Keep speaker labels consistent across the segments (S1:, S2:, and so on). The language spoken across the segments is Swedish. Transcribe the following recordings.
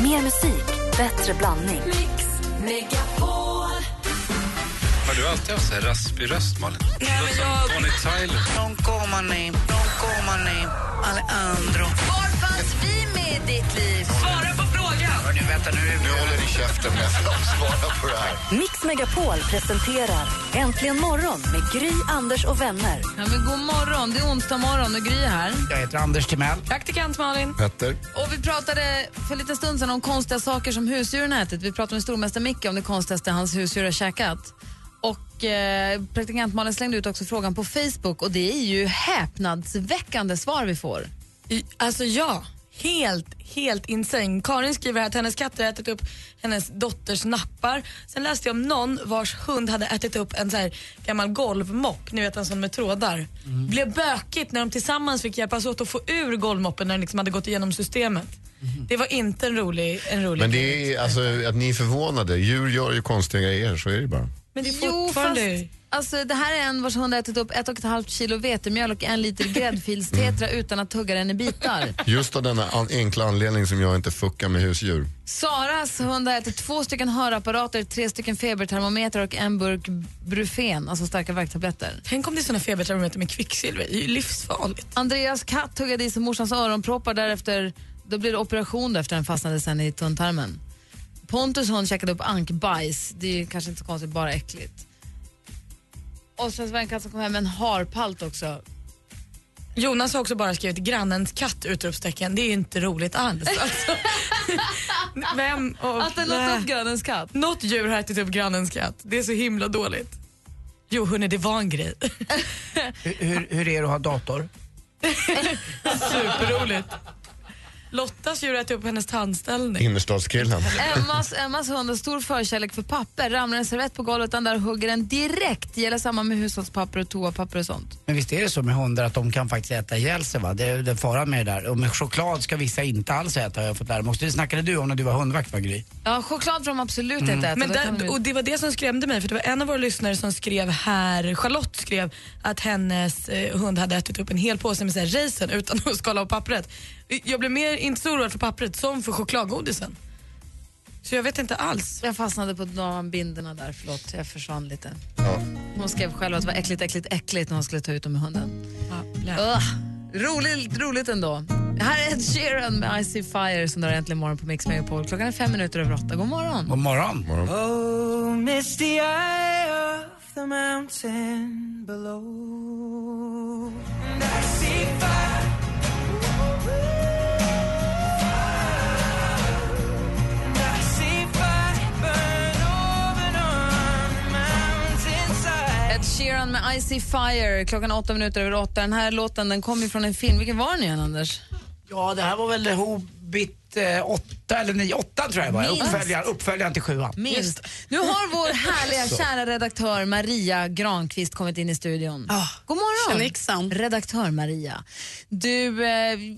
S1: Mer musik, bättre blandning.
S2: Mix Megapol.
S3: Har du alltid haft så här raspig röst, Malin?
S4: Nej, men jag-
S3: Bonnie Tyler.
S4: Non comane, non comane, Alejandro. Var fanns vi med i ditt liv? Svara på frågan!
S5: Hörni, vänta nu. Nu håller ni käften med för de svarar på det här.
S1: Mix Megapol presenterar Äntligen morgon med Gry, Anders och vänner.
S6: Ja, men god morgon, det är onsdag morgon och Gry här.
S4: Jag heter Anders Timell.
S6: Praktikant Malin.
S5: Petter.
S6: Och vi pratade för lite stund sedan om konstiga saker som husdjuren ätit. Vi pratade med stormästare Micke om det konstigaste hans husdjur har käkat. Och eh, praktikant Malin slängde ut också frågan på Facebook och det är ju häpnadsväckande svar vi får.
S7: I- Alltså ja, helt, helt insane. Karin skriver här att hennes katter har ätit upp hennes dotters nappar. Sen läste jag om någon vars hund hade ätit upp en så här gammal golvmopp, ni vet en sån med trådar.
S5: Mm.
S7: Blev bökigt när de tillsammans fick hjälpas åt att få ur golvmoppen när den liksom hade gått igenom systemet. Det var inte en rolig, en rolig
S5: Mm. Men det är alltså att ni är förvånade. Djur gör ju konstiga grejer, så är det bara.
S7: Men det är
S6: Jo,
S7: fortfarande...
S6: fast alltså, det här är en vars hund har ätit upp ett och ett halvt kilo vetemjöl och en liter gräddfilstetra utan att tugga den i bitar.
S5: Just av denna an- enkla anledning som jag inte fuckar med husdjur.
S6: Saras hund har ätit två stycken hörapparater, tre stycken febertermometrar och en burk Brufen, alltså starka värktabletter.
S7: Tänk om det är såna febertermometrar med kvicksilver, det är ju livsfarligt.
S6: Andreas katt tuggade i sig morsans öronproppar, därefter, då blev det operation efter den fastnade sen i tunntarmen. Pontus hund käkade upp ankbajs, det är ju kanske inte så konstigt, bara äckligt. Och sen så var det en katt som kom hem med en harpalt också.
S7: Jonas har också bara skrivit grannens katt utropstecken. Det är ju inte roligt alls. Alltså. Vem och,
S6: Att den åt upp grannens katt.
S7: Något djur har ätit upp grannens katt. Det är så himla dåligt. Jo hörni, det var en grej.
S4: Hur, hur, hur är det att ha dator?
S7: Superroligt. Lottas djur äter upp hennes tandställning.
S5: Innerstadskillen.
S6: Emmas, Emmas hund har stor förkärlek för papper. Ramlar en servett på golvet, den där hugger den direkt. Det gäller samma med hushållspapper och toapapper och sånt.
S4: Men visst är det så med hundar att de kan faktiskt äta ihjäl sig va? Det är den faran med det där. Och med choklad ska vissa inte alls äta har jag fått lära mig. Måste det snackade du om när du var hundvakt va Gry?
S6: Ja, choklad får de absolut inte äta.
S7: Mm. Men
S6: Då kan de
S7: där,
S6: ju-
S7: och det var det som skrämde mig för det var en av våra lyssnare som skrev här, Charlotte skrev att hennes eh, hund hade ätit upp en hel påse med så här raisin utan att skala av pappret. Jag blev mer inte så oroad för pappret som för chokladgodisen. Så jag vet inte alls.
S6: Jag fastnade på dambinderna där, förlåt. Jag försvann lite.
S5: Ja.
S6: Hon skrev själv att det var äckligt, äckligt, äckligt när hon skulle ta ut dem med hunden.
S7: Ja,
S6: Ugh, roligt, roligt ändå. Här är Ed Sheeran med I See Fire som drar äntligen morgon på Mix Megapol. Klockan är fem minuter över åtta. God morgon.
S4: God morgon.
S8: Oh, misty eye of the mountain below. And I see fire. And I see fire burn over on the mountainside.
S6: Ed Sheeran med I See Fire. Klockan är åtta minuter över åtta. Den här låten den kom ju från en film. Vilken var den igen, Anders?
S4: Ja, det här var väl Hobbit 8 eller 9, 8 tror jag var.
S6: Minst.
S4: Uppföljaren, uppföljaren till 7
S6: Minst. Nu har vår härliga, kära redaktör Maria Granqvist kommit in i studion. God morgon!
S9: Ah, tjenixan.
S6: Redaktör Maria. Du, eh,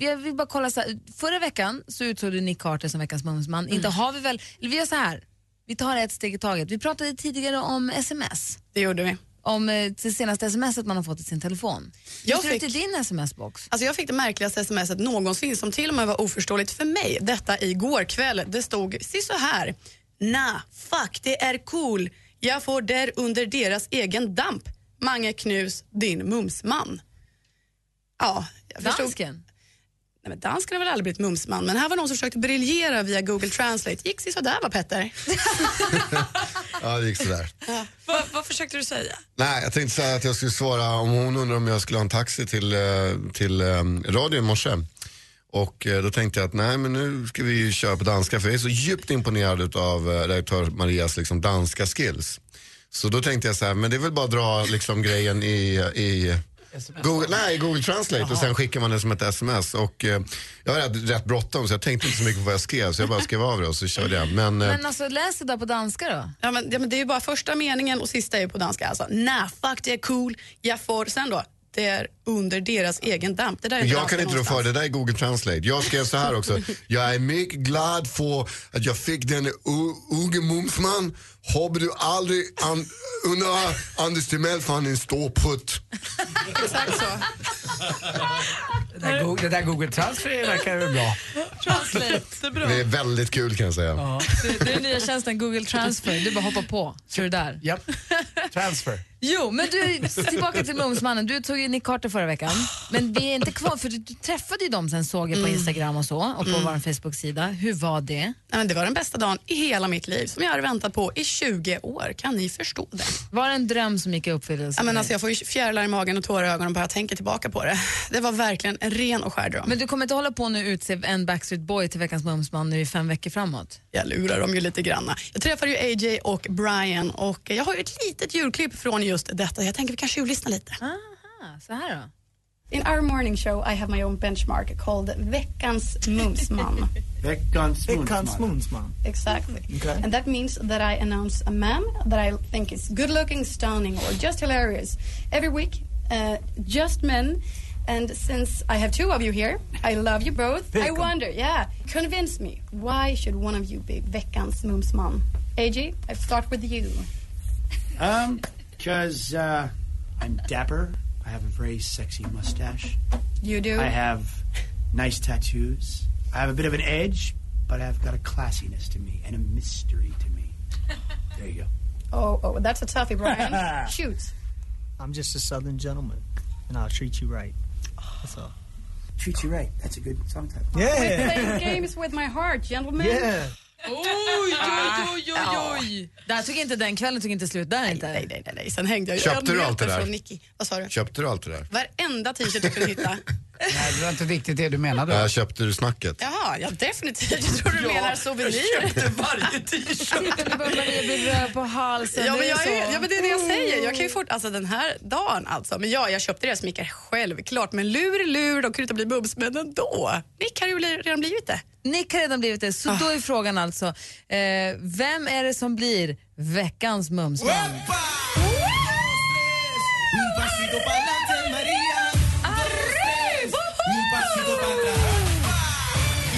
S6: jag vill bara kolla så här. Förra veckan så utsåg du Nick Carter som veckans Mumsman.
S9: Mm.
S6: Inte har vi väl... eller Vi gör så här. Vi tar ett steg i taget. Vi pratade tidigare om sms.
S9: Det gjorde vi.
S6: Om eh, det senaste smset man har fått i sin telefon.
S9: Jag
S6: Hur ser det ut i
S9: fick-
S6: din sms-box?
S9: Alltså jag fick det märkligaste smset någonsin som till och med var oförståeligt för mig. Detta igår kväll. Det stod si så här. Na, fuck, det är cool. Jag får där under deras egen damp. Mange knus, din mumsman. Ja, jag förstod.
S6: Dansken?
S9: Nej, men dansken har väl aldrig blivit mumsman, men här var någon som försökte briljera via Google Translate. Gick si så där va Petter?
S5: Ja, det gick sådär.
S7: vad, vad försökte du säga?
S5: Nej, jag tänkte säga att jag skulle svara om hon undrar om jag skulle ha en taxi till, eh, till eh, radio i morse. Och eh, då tänkte jag att nej men nu ska vi ju köra på danska för jag är så djupt imponerad av redaktör Marias liksom, danska skills. Så då tänkte jag så här, men det är väl bara att dra liksom, grejen i, i Google, nej, Google Translate och sen skickar man det som ett sms. Och, eh, jag var rätt, rätt bråttom så jag tänkte inte så mycket på vad jag skrev så jag bara skrev av det och så körde jag. Men, eh,
S6: Men alltså, läs det där på danska då.
S9: Ja, men, ja, men det är ju bara första meningen och sista är ju på danska. Alltså, nah, fuck, det är cool. Jag får... Sen då, det är under deras egen damp. Det där är
S5: Jag
S9: danska
S5: kan inte rå för
S9: någonstans.
S5: det där är Google Translate. Jag skrev så här också. Jag är mycket glad för att jag fick den U- unge Mumsman. Hoppas du aldrig an- undrar Anders Timell för han är en stor putt.
S9: Exakt så.
S4: Det där, Go- det där Google Transfer verkar ju bra.
S6: Translate.
S5: Det är väldigt kul kan jag säga.
S6: Det är den nya tjänsten Google Transfer. Du bara hoppar på. Kör det där.
S4: Japp. Transfer.
S6: Jo, men du, tillbaka till Mumsmannen. Du tog ju Nick Carter förra veckan, men vi är inte kvar för du, du träffade ju dem sen såg jag på
S9: Mm.
S6: Instagram och så och på vår Facebook-sida. Hur var det?
S9: Nej, men det var den bästa dagen i hela mitt liv som jag hade väntat på i 20 år. Kan ni förstå det?
S6: Var det en dröm som gick i uppfyllelse?
S9: Ja, men
S6: för
S9: alltså,
S6: dig?
S9: jag får ju fjärilar i magen och tårar i ögonen bara jag tänker tillbaka på det. Det var verkligen en ren och skär dröm.
S6: men du kommer inte hålla på nu och utse en Backstreet Boy till veckans Mumsman nu i fem veckor framåt?
S9: Jag lurar dem ju lite granna. Jag träffade ju AJ och Brian och jag har ju ett litet julklipp från just detta. Jag tänker vi kan tjuvlyssna lite.
S6: Aha, så här då.
S10: Ah. In our morning show, I have my own benchmark called Veckans Mumsman.
S4: Veckans
S10: exactly. And that means that I announce a man that I think is good looking, stunning, or just hilarious. Every week, uh, just men. And since I have two of you here, I love you both. I wonder, yeah, convince me. Why should one of you be Veckans Mumsman? AJ, I start with you.
S11: Um, because uh, I'm dapper. I have a very sexy mustache.
S10: You do?
S11: I have nice tattoos. I have a bit of an edge, but I've got a classiness to me and a mystery to me. There you go.
S10: Oh, oh, that's a toughie, Brian. Shoot.
S8: I'm just a southern gentleman, and I'll treat you right. That's all.
S11: Treat you right. That's a good song title.
S8: Yeah.
S10: Playing games with my heart, gentlemen.
S8: Yeah.
S6: Där tog inte den kvällen tog inte slut där inte.
S9: Nej, nej, nej, nej. Sen hängde jag ju
S5: Köpte du
S9: ögonmjöl
S5: allt det där?
S9: från Nicky. Vad sa du?
S5: Köpte du allt det där?
S9: Varenda t-shirt jag kunde hitta.
S4: Nej, det var inte riktigt det du menade.
S5: Där Äh, köpte du snacket.
S9: Jaha, ja definitivt. Jag tror du menar souvenirer.
S11: Varje t-shirt.
S6: Titta nu börjar Maria bli röd på halsen.
S9: Ja
S6: Det
S9: men,
S6: är
S9: jag
S6: så. Mm.
S9: är, ja men det är det jag säger. Jag kan ju fort, alltså den här dagen alltså. Men ja, jag köpte deras mickar självklart. Men lur är lur, de kunde inte bli bubs. Men ändå. Mick har ju bli- redan blivit det.
S6: Nick har redan blivit det, så då är
S9: Ah.
S6: frågan alltså, eh, vem är det som blir veckans Mumsman?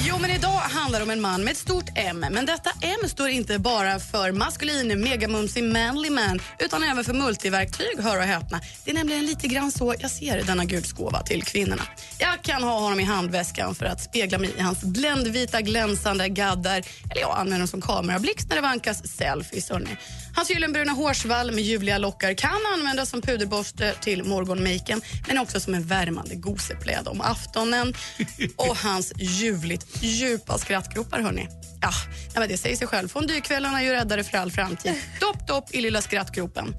S9: Jo, men idag handlar det om en man med ett stort M. Men detta M står inte bara för maskulin, megamumsig, manly man utan även för multiverktyg, hör och häpna. Det är nämligen lite grann så jag ser denna guds gåva till kvinnorna. Jag kan ha honom i handväskan för att spegla mig i hans bländvita, glänsande gaddar. Eller jag använder dem som kamerablixt när det vankas selfies. Hörrni. Hans gyllenbruna hårsvall med ljuvliga lockar kan användas som puderborste till morgonmaken men också som en värmande gosepläd om aftonen. Och hans ljuvligt djupa skrattgropar, hörni. Ja, nej, men det säger sig själv. Fondykvällarna är ju räddare för all framtid. Dopp, dopp i lilla skrattgropen.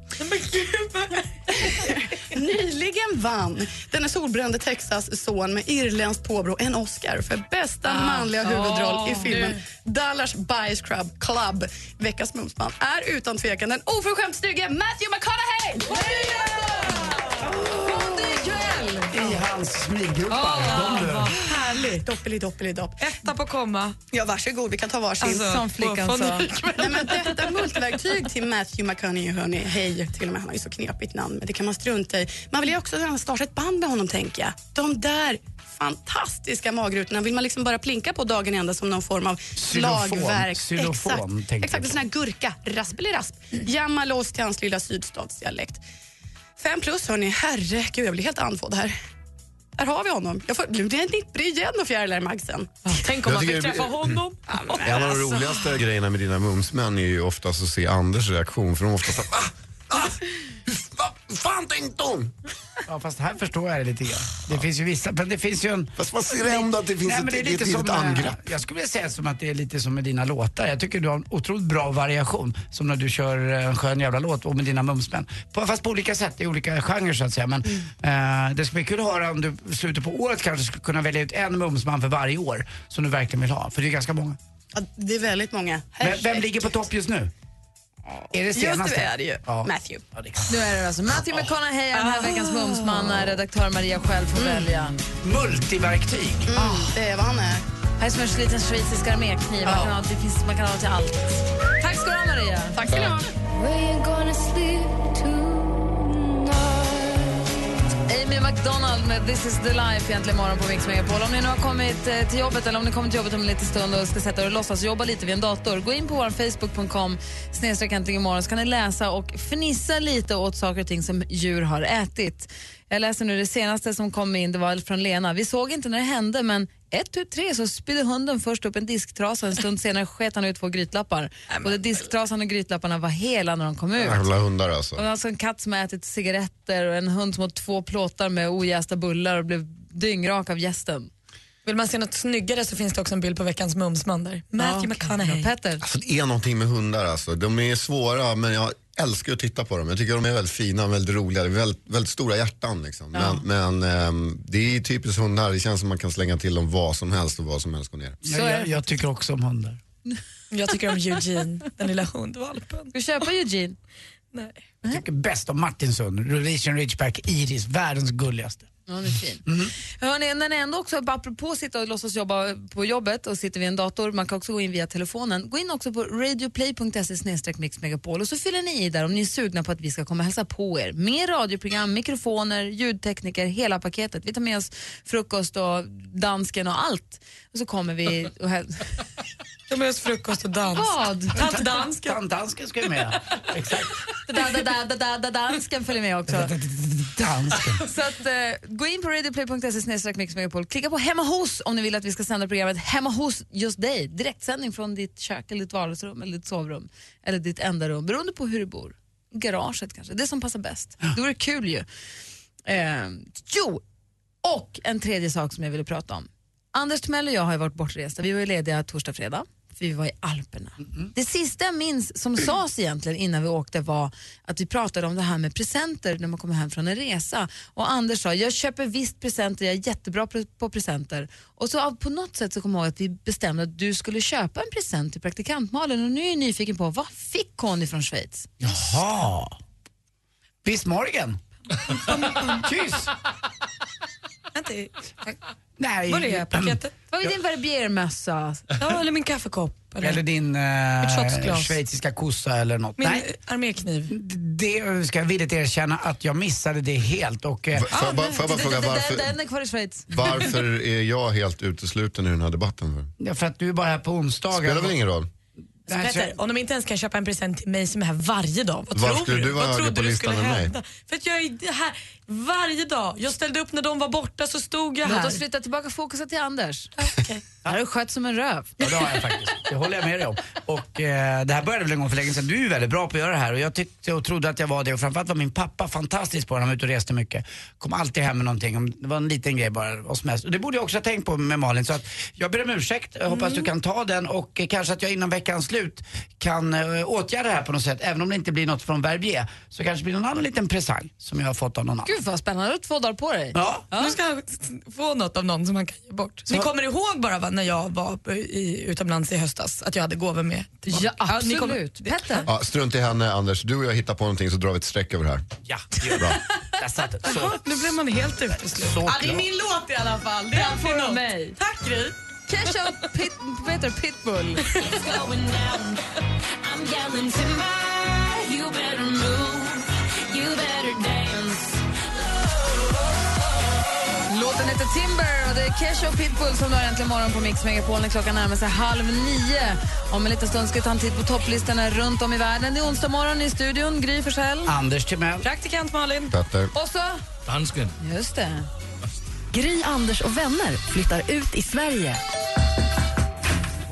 S9: Nyligen vann denne solbrände Texas son med irländskt påbrå en Oscar för bästa manliga huvudroll i filmen Dallas Buyers Club, Club. Veckans mumsman är utan tvekan den oförskämt snygge Matthew McConaughey!
S4: I hans smyggropar. de du.
S9: Härligt! Doppelidoppelidopp.
S7: Etta på komma.
S9: Ja, varsågod, vi kan ta varsin.
S6: Som flickan sa.
S9: Nej, men detta multiverktyg till Matthew McConaughey, hörni. Hej, till och med. Han har ju så knepigt namn, men det kan man strunta i. Man vill ju också gärna starta ett band med honom, tänker jag. De där fantastiska magrutorna vill man liksom bara plinka på dagen ända som någon form av
S4: Xylofon.
S9: slagverk.
S4: Xylofon,
S9: Exakt,
S4: tänkte jag
S9: exakt en
S4: på.
S9: sån här gurka, raspelirasp. Jamma loss till hans lilla sydstatsdialekt. Fem plus, hörni. Herregud, jag blir helt andfådd här. Där har vi honom. Jag får, nu blir jag nipprig igen och fjärilar i magsen.
S7: Tänk
S5: om man fick träffa
S7: honom.
S5: En av de
S4: alltså.
S5: roligaste grejerna med dina mumsmän är ju oftast att se Anders reaktion. För de är oftast såhär, ah, ah, hur- vad fan tänkte hon?
S4: Ja, fast här förstår jag det lite grann. Det finns ju vissa, men det finns ju en...
S5: Fast man ser ändå att det finns
S4: Nej, men
S5: ett,
S4: det är
S5: ett,
S4: lite
S5: litet
S4: som, eh,
S5: angrepp.
S4: jag skulle vilja säga som att det är lite som med dina låtar. Jag tycker du har en otroligt bra variation. Som när du kör eh, en skön jävla låt och med dina mumsmän. På, fast på olika sätt, i olika genrer så att säga. Men eh, det skulle bli kul att höra om du i slutet på året kanske skulle kunna välja ut en mumsman för varje år som du verkligen vill ha. För det är ganska många.
S9: Ja, det är väldigt många.
S4: Vem, vem
S9: Herregud.
S4: ligger på topp just nu? Är det senaste?
S9: Just det är det ju.
S4: Ja.
S9: Matthew. Mm,
S4: Ja, det är klart.
S6: Nu är det alltså Matthew McConaughey är den här veckans Mumsman när redaktör Maria själv får välja.
S4: Multiverktyg.
S9: Mm,
S4: Ah.
S9: det är vad han är.
S6: Här är som en liten schweizisk armékniv. Man, kan ha, det finns, man kan ha till allt. Tack ska du ha, Maria.
S9: Tack ska ni ha.
S6: Amy McDonald med This is the life egentligen imorgon på Mix Megapol. Om ni nu har kommit eh, till jobbet eller om ni kommer till jobbet om en liten stund och ska sätta er och låtsas jobba lite vid en dator, gå in på vår facebook.com snedstreck äntligen imorgon så kan ni läsa och fnissa lite åt saker och ting som djur har ätit. Jag läser nu det senaste som kom in, det var från Lena. Vi såg inte när det hände men ett, tu, tre så spydde hunden först upp en disktrasa en stund senare sket han ut två grytlappar. Både disktrasan och grytlapparna var hela när de kom ut.
S5: Jävla hundar alltså.
S6: Och alltså en katt som har ätit cigaretter och en hund som åt två plåtar med ojästa bullar och blev dyngrak av gästen.
S7: Vill man se något snyggare så finns det också en bild på veckans mumsman där. Matthew McConaughey.
S6: Petter.
S5: Alltså, det är någonting med hundar alltså. De är svåra men jag älskar att titta på dem. Jag tycker de är väldigt fina, väldigt roliga, Det är väldigt, väldigt stora hjärtan. Liksom.
S6: Ja.
S5: Men, men ehm, det är typiskt hundar, det känns som man kan slänga till dem vad som helst och vad som helst går ner.
S4: Jag, jag, jag tycker också om hundar.
S7: Jag tycker om Eugene, den lilla hundvalpen.
S6: Ska vi köpa Eugene?
S7: Nej.
S4: Jag tycker bäst om Martins hund, Rhodesian Ridgeback Iris, världens gulligaste.
S6: Ja, den är fin. Mm-hmm. Hörrni, när ni ändå också, apropå att sitta och låtsas jobba på jobbet och sitter vid en dator, man kan också gå in via telefonen. Gå in också på radioplay.se mixmegapol och så fyller ni i där om ni är sugna på att vi ska komma och hälsa på er. Med radioprogram, mikrofoner, ljudtekniker, hela paketet. Vi tar med oss frukost och dansken och allt. Och så kommer vi och häl-
S7: De har just frukost och dans.
S6: Vad?
S7: Tant dansken.
S4: Tant dansken ska ju med. Exakt.
S6: Da, da, da, da, da, da, dansken följer med också.
S4: Dansken.
S6: Så att, eh, gå in på radioplay.se snedstreck Mix Megapol. Klicka på hemma hos om ni vill att vi ska sända programmet hemma hos just dig. Direktsändning från ditt kök, eller ditt vardagsrum, eller ditt sovrum eller ditt enda rum, beroende på hur du bor. Garaget kanske, det som passar bäst. Det vore kul ju. Eh, jo, och en tredje sak som jag ville prata om. Anders Timell och jag har ju varit bortresta. Vi var ju lediga torsdag, fredag. För vi var i Alperna.
S5: Mm-hmm.
S6: Det sista jag minns som sades egentligen innan vi åkte var att vi pratade om det här med presenter när man kommer hem från en resa. Och Anders sa, jag köper visst presenter, jag är jättebra pre- på presenter. Och så av- på något sätt så kom jag ihåg att vi bestämde att du skulle köpa en present till praktikantmalen och nu är jag nyfiken på, vad fick hon ifrån Schweiz?
S4: Jaha. Bis morgen. Tschüss. Nej.
S7: Var är paketet?
S6: Vad var din verbiermössa?
S7: Ja, eller min kaffekopp.
S4: Eller din
S7: Ett
S4: eh,
S7: shotsglas.
S4: schweiziska kossa eller något.
S7: Min
S4: Nej,
S7: armékniv.
S4: det ska jag villigt erkänna att jag missade det helt. Och, eh,
S5: Får
S12: Ah,
S5: jag bara, får jag bara fråga
S6: Den-
S5: varför,
S6: Den är kvar i Schweiz.
S5: varför är jag helt utesluten i den här debatten? För?
S4: ja, för att du är bara här på onsdagar.
S5: Spelar väl ingen roll?
S4: Nej, så-
S7: Petter, om de inte ens kan köpa en present till mig som är här varje dag, vad
S5: Varför
S7: tror
S5: skulle du vara
S7: vad
S5: högre
S7: trodde
S5: på listan än mig?
S7: För att jag är här varje dag. Jag ställde upp när de var borta så stod jag
S6: Låt
S7: här.
S6: oss flytta tillbaka fokuset till Anders. Där har du skött som en röv.
S4: Ja, det har jag faktiskt. Det håller jag med dig om. Och eh, det här började väl en gång för länge sedan. Du är väldigt bra på att göra det här och jag tyckte och trodde att jag var det och framförallt var min pappa fantastisk på det. Han var ute och reste mycket. Kom alltid hem med någonting. Om- Det var en liten grej bara, vad som helst. Och det borde jag också ha tänkt på med Malin. Så att jag ber om ursäkt. Jag hoppas du
S7: Mm.
S4: kan ta den och eh, kanske att jag innan veckans slut kan eh, åtgärda det här på något sätt. Även om det inte blir något från Verbier så kanske det blir någon annan liten presang som jag har fått av någon annan.
S6: Gud vad spännande, du har två dagar på dig.
S4: Ja.
S7: Nu ska jag få något av någon som man kan ge bort. Ni kommer ihåg bara va, när jag var i, utomlands i höstas att jag hade gåvor med?
S6: Ja,
S7: ni
S6: absolut.
S7: kommer-
S6: Petter?
S5: Ja, strunt i henne Anders, du och jag hittar på någonting så drar vi ett streck över det här.
S4: Ja, det gör bra. Där satt det. Så,
S7: Nu blev man helt utesluten.
S4: så
S7: Ja, det är
S4: klart.
S7: min låt i alla fall. Det är alltid
S6: får du av
S7: något.
S6: mig.
S7: Tack Gry.
S6: Kesha och Pit, Peter Pitbull. Låten heter Timber och det är Kesha och Pitbull som du har äntligen morgon på Mix Megapol när klockan närmar sig halv nio. Om en liten stund ska vi ta en titt på topplistorna runt om i världen. Det är onsdag morgon i studion, Gry Forssell.
S4: Anders Timell.
S7: Praktikant Malin.
S5: Petter.
S6: Och så...
S13: Dansken.
S6: Just det.
S1: Gry, Anders och vänner flyttar ut i Sverige.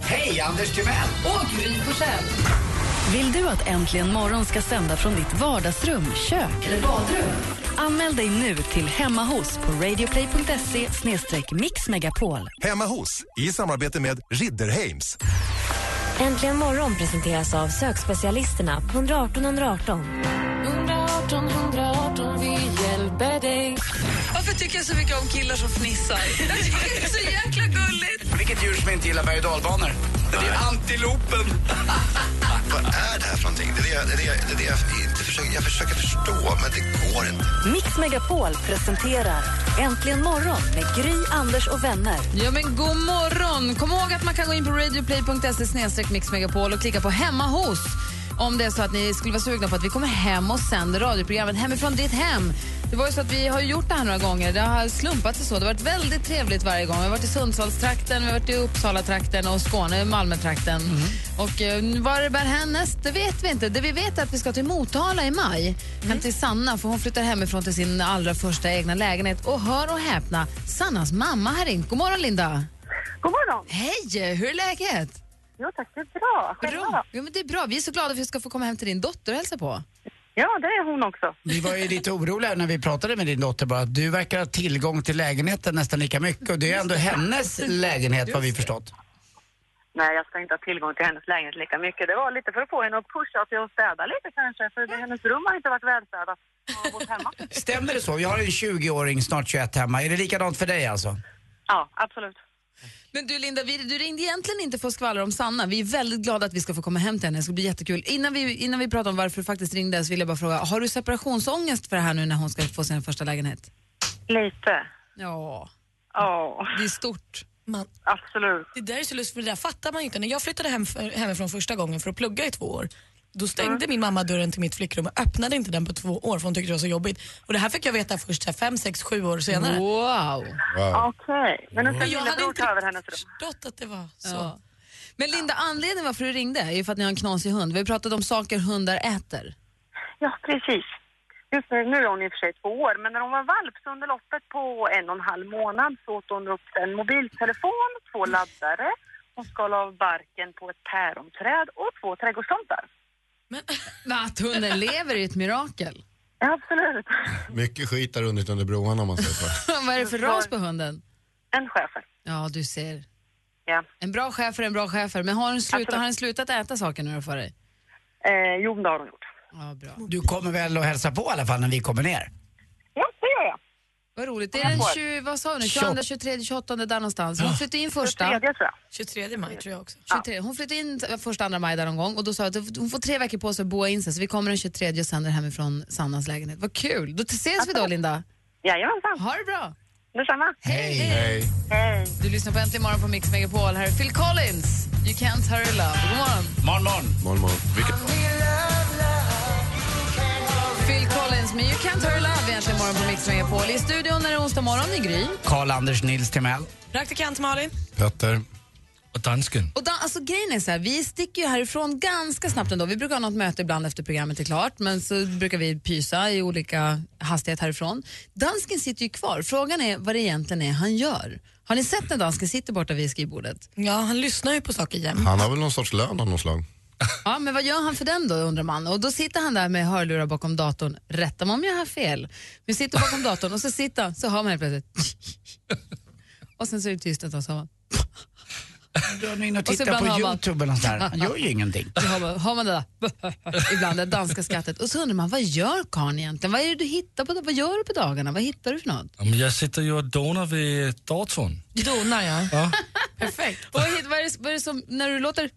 S4: Hej, Anders Timell!
S6: Och Gry Forssell.
S1: Vill du att Äntligen morgon ska sända från ditt vardagsrum, kök eller badrum? Anmäl dig nu till Hemma hos på radioplay.se mixmegapol.
S14: Hemma hos, i samarbete med Ridderheims.
S2: Äntligen morgon presenteras av sökspecialisterna på 118 118. 118 118, vi hjälper dig.
S6: Varför tycker jag så mycket om killar som fnissar? Jag tycker det är så jäkla gulligt.
S4: Vilket djur som inte gillar berg och dalbanor? Det är antilopen.
S12: Vad är det här för någonting? Det är det, jag- det, är det, jag- det, är det jag, inte försöker, jag försöker förstå, men det går inte.
S1: Mix Megapol presenterar Äntligen morgon med Gry, Anders och vänner.
S6: Ja, men god morgon! Kom ihåg att man kan gå in på radioplay.se snedstreck mixmegapol och klicka på hemma hos. om det är så att ni skulle vara sugna på att vi kommer hem och sänder radioprogrammet hemifrån ditt hem. Det var ju så att vi har gjort det här några gånger. Det har slumpat sig så. Det har varit väldigt trevligt varje gång. Vi har varit i Sundsvallstrakten, vi har varit i Uppsala-trakten och Skåne, Malmö-trakten. Och eh, var det bär härnäst, det vet vi inte. Det vi vet är att vi ska till Motala i maj. Hem till Sanna, för hon flyttar hemifrån till sin allra första egna lägenhet. Och hör och häpna, Sannas mamma har ringt. God morgon, Linda.
S9: God morgon.
S6: Hej, hur är läget?
S9: Jo tack, det är bra. Själva då?
S6: Jo, men det är bra. Vi är så glada för att vi ska få komma hem till din dotter och hälsa på.
S9: Ja, det är hon också.
S4: Vi var ju lite oroliga när vi pratade med din dotter bara att du verkar ha tillgång till lägenheten nästan lika mycket och det är ändå hennes lägenhet vad vi förstått.
S9: Nej, jag ska inte ha tillgång till hennes lägenhet lika mycket. Det var lite för att få henne att pusha till att städa lite kanske, för det- hennes rum har inte varit välstädat. när hon har bott hemma.
S4: Stämmer det så? Vi har en 20-åring, snart 21 hemma. Är det likadant för dig alltså?
S9: Ja, absolut.
S6: Men du Linda, vi, du ringde egentligen inte för att skvallra om Sanna. Vi är väldigt glada att vi ska få komma hem till henne. Det ska bli jättekul. Innan vi, innan vi pratar om varför du faktiskt ringde så vill jag bara fråga, har du separationsångest för det här nu när hon ska få sin första lägenhet?
S9: Lite.
S6: Ja.
S9: Ja.
S6: Det är stort.
S7: Man,
S9: Absolut.
S7: Det där är så lustigt, för det där fattar man ju inte. När jag flyttade hem för, hemifrån första gången för att plugga i två år, då stängde min mamma dörren till mitt flickrum och öppnade inte den på två år för hon tyckte det var så jobbigt. Och det här fick jag veta först så här, fem, sex, sju år senare.
S6: Wow!
S9: Okej, men nu ska
S7: Och jag hade
S9: lillebror
S7: inte
S9: ta över hennes rum.
S7: förstått att det var så.
S6: Ja. Men Linda, anledningen varför du ringde är ju för att ni har en knasig hund. Vi har pratat om saker hundar äter.
S9: Ja, precis. Just nu, nu är hon i och för sig två år, men när hon var valp så under loppet på en och en halv månad så åt hon upp en mobiltelefon, två laddare, hon skal av barken på ett päronträd och två trädgårdstomtar.
S6: Att hunden lever är ett mirakel.
S9: Absolut.
S5: Mycket skit har runnit under broarna om man säger så.
S6: Vad är det för ras på hunden?
S9: En schäfer.
S6: Ja, du ser.
S9: Ja.
S6: En bra chef är en bra chef. Men har den, slutat, har den slutat äta saker nu då för dig?
S9: Eh, jo, det har hon gjort.
S6: Ja, bra.
S4: Du kommer väl och hälsa på i alla fall när vi kommer ner?
S9: Ja, det gör jag.
S6: Vad roligt. Det är den 20, vad sa du nu? 22, 23, 28 där någonstans. Hon flyttade in första.
S9: 23,
S7: 23 maj tror jag också.
S6: 23. Hon flyttade in t- första, andra maj där någon gång och då sa jag att hon får tre veckor på sig att boa in sig så vi kommer den 23 och sänder hemifrån Sannas lägenhet. Vad kul! Då ses vi då Linda.
S9: Jajamensan.
S6: Ha det bra.
S9: Detsamma.
S6: Hej. Hej. Du lyssnar på Äntligen morgon på Mix Megapol. Här är Phil Collins. You can't hurry love. God morgon.
S4: Morgon, morgon.
S5: Morgon, morgon. Vilket...
S6: Phil Collins med You can't hurry love i Äntligen morgon på Mix Megapol. I studion är det onsdag morgon i Gry.
S4: Karl-Anders Nils Timell.
S7: Praktikant Malin.
S5: Petter.
S15: Och dansken.
S6: Och dan- alltså, grejen är så här, vi sticker ju härifrån ganska snabbt ändå. Vi brukar ha något möte ibland efter programmet är klart, men så brukar vi pysa i olika hastighet härifrån. Dansken sitter ju kvar. Frågan är vad det egentligen är han gör. Har ni sett när dansken sitter borta vid skrivbordet?
S7: Ja, han lyssnar ju på saker jämt.
S5: Han har väl någon sorts lön av något slag.
S6: Ja, men vad gör han för den då undrar man. Och då sitter han där med hörlurar bakom datorn. Rätta mig om jag har fel. Men sitter bakom datorn och så sitter han, så hör man helt plötsligt. Och sen så är det tyst ett tag, så hör man.
S4: Drar ni in och
S6: Och så
S4: tittar
S6: ibland
S4: på
S6: har man-
S4: YouTube eller något sånt där? Han gör ju ingenting.
S6: Så har man, har man det där, ibland det danska skrattet. Och så undrar man, vad gör karln egentligen? Vad är det du hittar på, vad gör du på dagarna? Vad hittar du för något?
S15: Ja, men jag sitter ju och donar vid datorn.
S7: Donar ja.
S15: Ja.
S7: Perfekt.
S6: Och vad, hit- vad, är det, vad är det som, när du låter,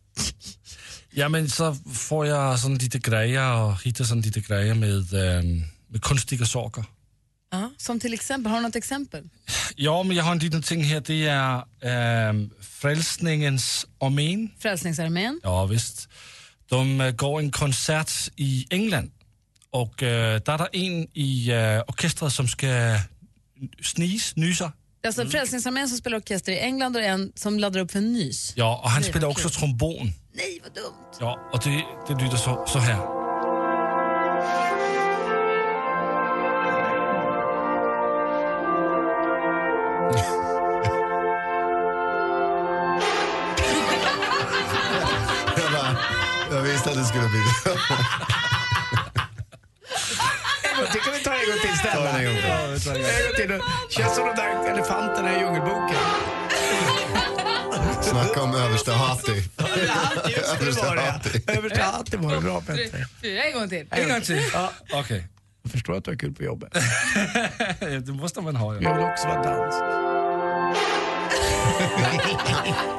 S15: Ja, men så får jag sån lite grejer och hittar sån lite grejer med, ehm, med konstiga saker.
S6: som till exempel, har du något exempel?
S15: Ja, men jag har en liten ting här. Det är ehm, Frälsningens armén.
S6: Frälsningsarmén?
S15: Ja, visst. De eh, går en koncert i England. Och eh, där är det en i uh, orkestret som ska snis, nysa.
S6: Det är
S16: Mm.
S6: alltså Frälsningsarmén som spelar orkester i England och en som laddar upp för en nys.
S15: Ja, och han
S6: Nej,
S15: spelar
S6: vad
S15: också
S6: kul.
S15: trombon.
S6: Nej, vad dumt.
S15: Ja, och det, det lyder så, så här.
S5: Jag, bara, jag visste att det skulle bli det.
S4: Jag tycker vi tar en gång till
S5: Ta den en gång till.
S4: snälla. En gång till. nu. Känns som de där elefanterna i Djungelboken.
S5: Snacka om överste Hatti.
S4: Just det var det ja. Överste Hatti var det. Bra
S6: Tre,
S4: Petter.
S6: fyra, en gång till.
S15: En gång till.
S4: Ja.
S15: Okej.
S4: Jag förstår att du har kul på jobbet.
S15: det måste man ha.
S4: Jag vill också vara dansk.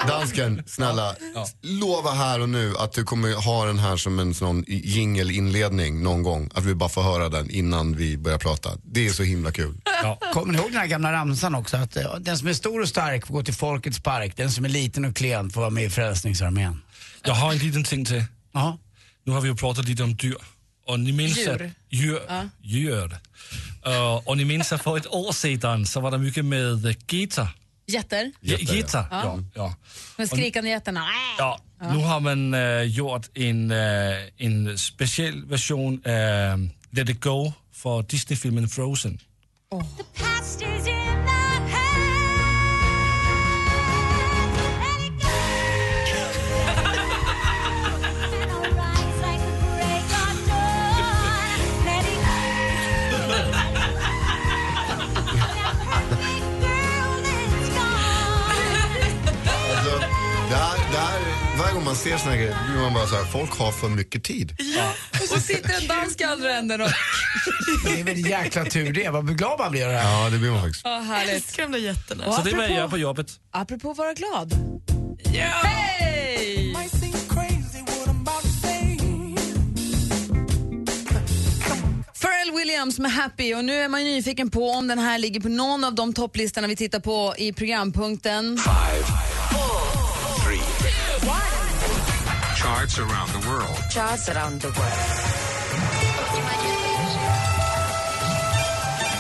S5: Dansken, snälla. Lova här och nu att du kommer ha den här som en sån jingelinledning någon gång. Att vi bara får höra den innan vi börjar prata. Det är så himla kul.
S4: Kommer ni ihåg den här gamla ramsan också? Att eh, den som är stor och stark får gå till Folkets park. Den som är liten och klen får vara med i Frälsningsarmén.
S15: Jag har en liten ting till.
S4: Ja.
S16: Nu har vi ju pratat lite om dyr. Och ni minns
S9: Djur.
S16: att, djur,
S9: Ja.
S16: djur. Eh, och ni minns att för ett år sedan så var det mycket med eh, gitar.
S2: Jätter.
S16: Ja, Gitar,
S6: Ja.
S16: ja. ja.
S6: Med skrikande getterna. Äh!
S16: Ja, nu har man eh, gjort en, eh, en speciell version av Let it go för Disney-filmen Frozen.
S5: Alltså, där, där, varje gång man ser såna här grejer blir man bara så här, folk har för mycket tid.
S6: Och så sitter en dansk i andra änden och...
S4: Det är väl jäkla tur det. Vad glad man blir av det
S5: här. Ja, det blir man faktiskt.
S6: Ja, härligt.
S9: Älskar de där jätterna.
S6: Och
S16: Så det är vad jag gör
S6: apropå,
S16: på jobbet.
S6: apropå vara glad. Hej! Pharrell Williams med Happy och nu är man ju nyfiken på om den här ligger på någon av de topplistorna vi tittar på i programpunkten.
S3: Charts around the world.
S2: Charts around the world.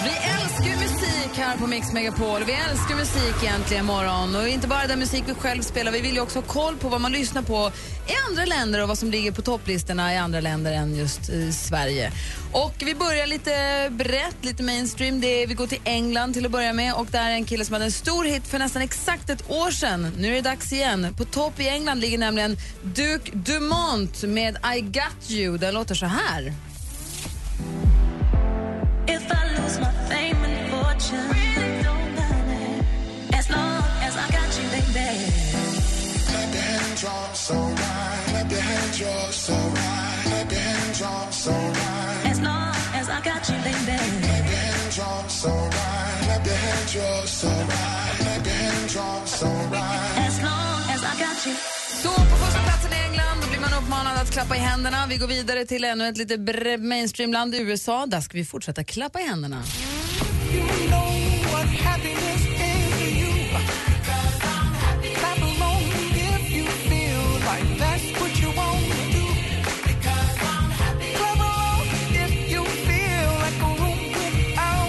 S6: Vi älskar ju musik här på Mix Megapol. Vi älskar musik egentligen imorgon. Och inte bara den musik vi själv spelar, vi vill ju också ha koll på vad man lyssnar på i andra länder och vad som ligger på topplistorna i andra länder än just i Sverige. Och vi börjar lite brett, lite mainstream. Det är, vi går till England till att börja med och där är en kille som hade en stor hit för nästan exakt ett år sedan. Nu är det dags igen. På topp i England ligger nämligen Duke Dumont med I Got You. Den låter så här.
S15: If I lose my fame and fortune, really don't matter. As long as I got you, baby. Clap your hands, y'all, so right. Clap your hands, y'all, so right. Clap your hands, y'all, so right. As long as I got you, baby. Clap your hands, y'all, so right. Clap your hands, y'all, so right. Clap your hands, y'all, so right. As long as I got you.
S6: Så på första platsen i England då blir man uppmanad att klappa i händerna. Vi går vidare till ännu ett lite bre- mainstreamland, USA. Där ska vi fortsätta klappa i händerna.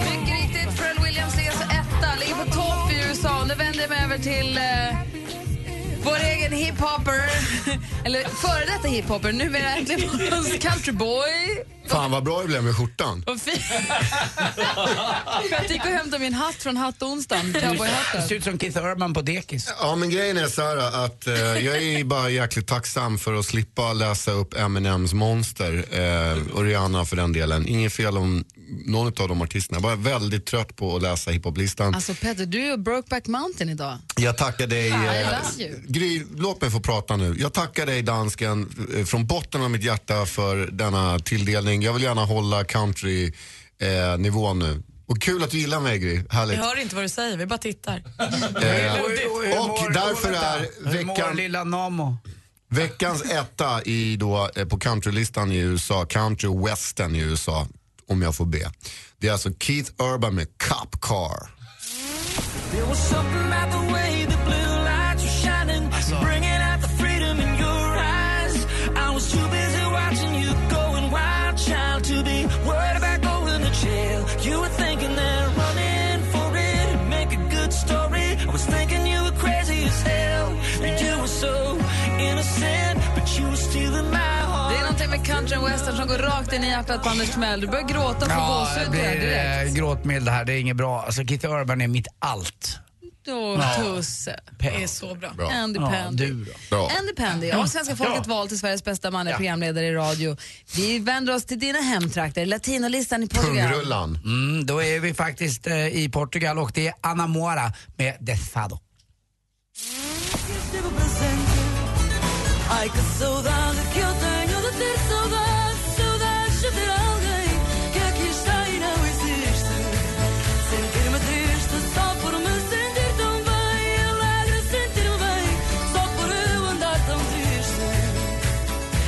S6: Mycket riktigt, Pharrell Williams ligger alltså etta, ligger på topp i USA. Nu vänder jag mig över till eh, vår egen hiphopper, eller före detta hiphopper, nu är äntligen morgons countryboy.
S5: Fan vad bra det blev med skjortan.
S6: Vad fint. Jag gick och hämtade min hatt från hattonsdagen, cowboyhatten.
S4: Det ser ut som Keith Urban på dekis.
S5: Ja, men grejen är så här att eh, jag är bara jäkligt tacksam för att slippa läsa upp Eminems monster eh, och Rihanna för den delen. Inget fel om någon av de artisterna. Jag är bara väldigt trött på att läsa hiphoplistan.
S6: Alltså Petter, du är ju Brokeback Mountain idag.
S5: Jag tackar dig.
S6: Fan, jag
S5: eh,
S6: läser ju.
S5: Gry, låt mig få prata nu. Jag tackar dig dansken eh, från botten av mitt hjärta för denna tilldelning. Jag vill gärna hålla country eh, nivån nu. Och kul att du gillar mig Gry,
S7: Vi
S5: härligt.
S7: hör inte vad du säger, vi bara tittar.
S5: Eh, och därför är
S4: Mår
S5: veckan,
S4: lilla Namo.
S5: veckans etta i då, eh, på countrylistan i USA, country western i USA, om jag får be. Det är alltså Keith Urban med Cup Car.
S15: There was something about the way the blue lights were shining, bringing out the freedom in your eyes. I was too busy watching you going wild, child, to be worried about going to jail. You were thinking that running for it would make a good story. I was thinking you were crazy as hell, and you were so innocent, but you were stealing my heart.
S6: Det är någonting med country and western som går rakt in i hjärtat på Anders Timell. Du börjar gråta och få
S4: det
S6: gåshud
S4: blir
S6: där direkt.
S4: eh, gråtmild här. Det är inget bra. Alltså Keith Urban är mitt allt.
S6: Då,
S4: Ja.
S6: Tusse.
S4: Det
S6: är så bra.
S4: Bra.
S6: Andy
S4: Ja,
S6: Pandy.
S4: du då? Mm. Bra.
S6: Andy Pandy, av svenska folket vald till Sveriges bästa manliga programledare i radio. Vi vänder oss till dina hemtrakter, latinolistan i Portugal.
S4: Mm, då är vi faktiskt eh, i Portugal och det är Ana Moara med Desfado.
S15: Ai, que saudade que eu tenho de ter saudade, saudades de ter alguém que aqui está e não existe. Sentir-me triste só por me sentir tão bem, alegre sentir-me bem, só por eu andar tão triste.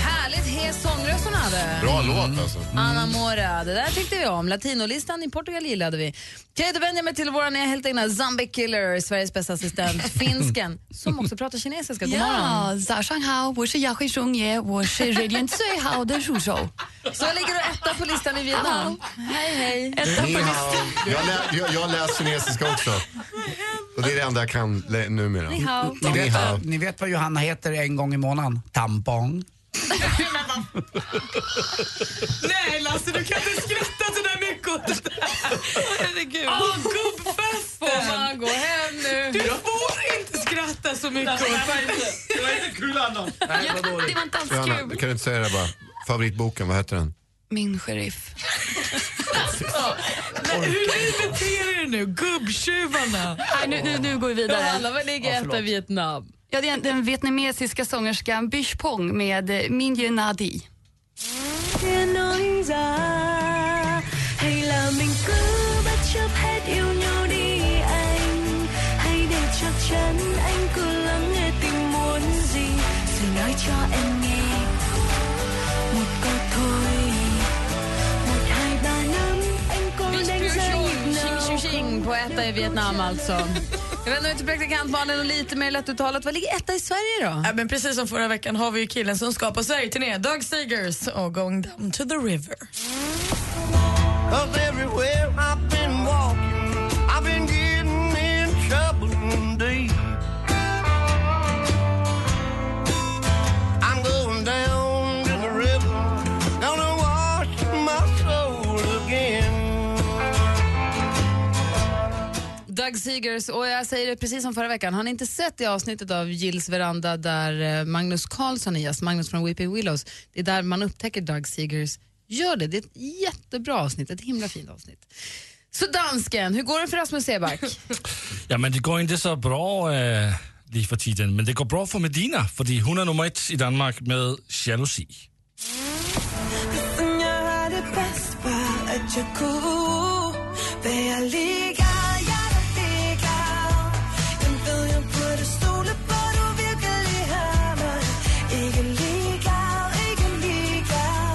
S6: Härligt hes sångröst hon hade.
S5: Bra låt alltså.
S6: Anna Mora, det där tyckte vi om. Latinolistan i Portugal gillade vi. Kate och Benjamin till vår nya helt egna Zombie Killer, Sveriges bästa assistent, finsken, som också pratar kinesiska. God morgon.
S17: 呀，早上好，我是雅慧中爷，我是瑞典最好的助手。
S6: Så ligger du etta på listan i Vietnam. Hej, hej.
S5: Ni hao. Jag, lä, jag, jag läser kinesiska också. Och det är det enda jag kan lä- numera.
S4: Ni hao. Ni vet, ni vet vad Johanna heter en gång i månaden? Tampong.
S15: Nej Lasse, du kan inte skratta sådär mycket åt det där. Herregud. Åh, gubbfesten. Får man gå hem nu? Du får inte skratta så mycket åt det. Det var inte kul annars.
S17: Det var inte alls
S5: Johanna,
S17: kul.
S5: kan du inte säga det bara? Favoritboken, vad heter den?
S17: Min sheriff.
S15: Men hur ni beter er nu, gubbtjuvarna.
S17: Nej, nu, nu, nu går vi vidare.
S6: Ja, alla, vad ligger Ja, förlåt. efter Vietnam?
S17: Ja, det är den vietnamesiska sångerskan Bish Pong med eh, Min Ye Nadi.
S15: Nghe nói ra hay là mình cứ bất chấp hết yêu nhau đi anh hay để chắc chắn anh cứ lắng nghe tim muốn gì rồi nói cho em nghe một câu thôi một hai ba năm anh có đánh giá nhịp nào
S6: Tjing på etta i Vietnam alltså. Jag vänder mig till praktikant Malin och lite mer lättuttalat. Vad ligger etta i Sverige då?
S7: Ja, men precis som förra veckan har vi ju killen som ska på Sverige-turné, Doug Stigers och Going Down to the River.
S15: of everywhere I've been walking. I've been getting in trouble indeed. I'm going down to the river, gonna wash my soul again.
S6: Doug Seegers, och jag säger det precis som förra veckan, har ni inte sett det avsnittet av Gills veranda där eh, Magnus Karlsson är gäst, Magnus från Weeping Willows, det är där man upptäcker Doug Seegers, gör det, det är ett jättebra avsnitt, ett himla fint avsnitt. Så dansken, hur går det för Rasmus Seback?
S16: Ja, men det går inte så bra eh, lige for tiden, men det går bra for Medina, fordi hun er nummer ett i Danmark med jalousi.
S15: Sen jag hade bäst var att jag går Där jag ligger, jag vill ligga Den början på det stolen var du virkelig her Men ikke ligger, ikke ligger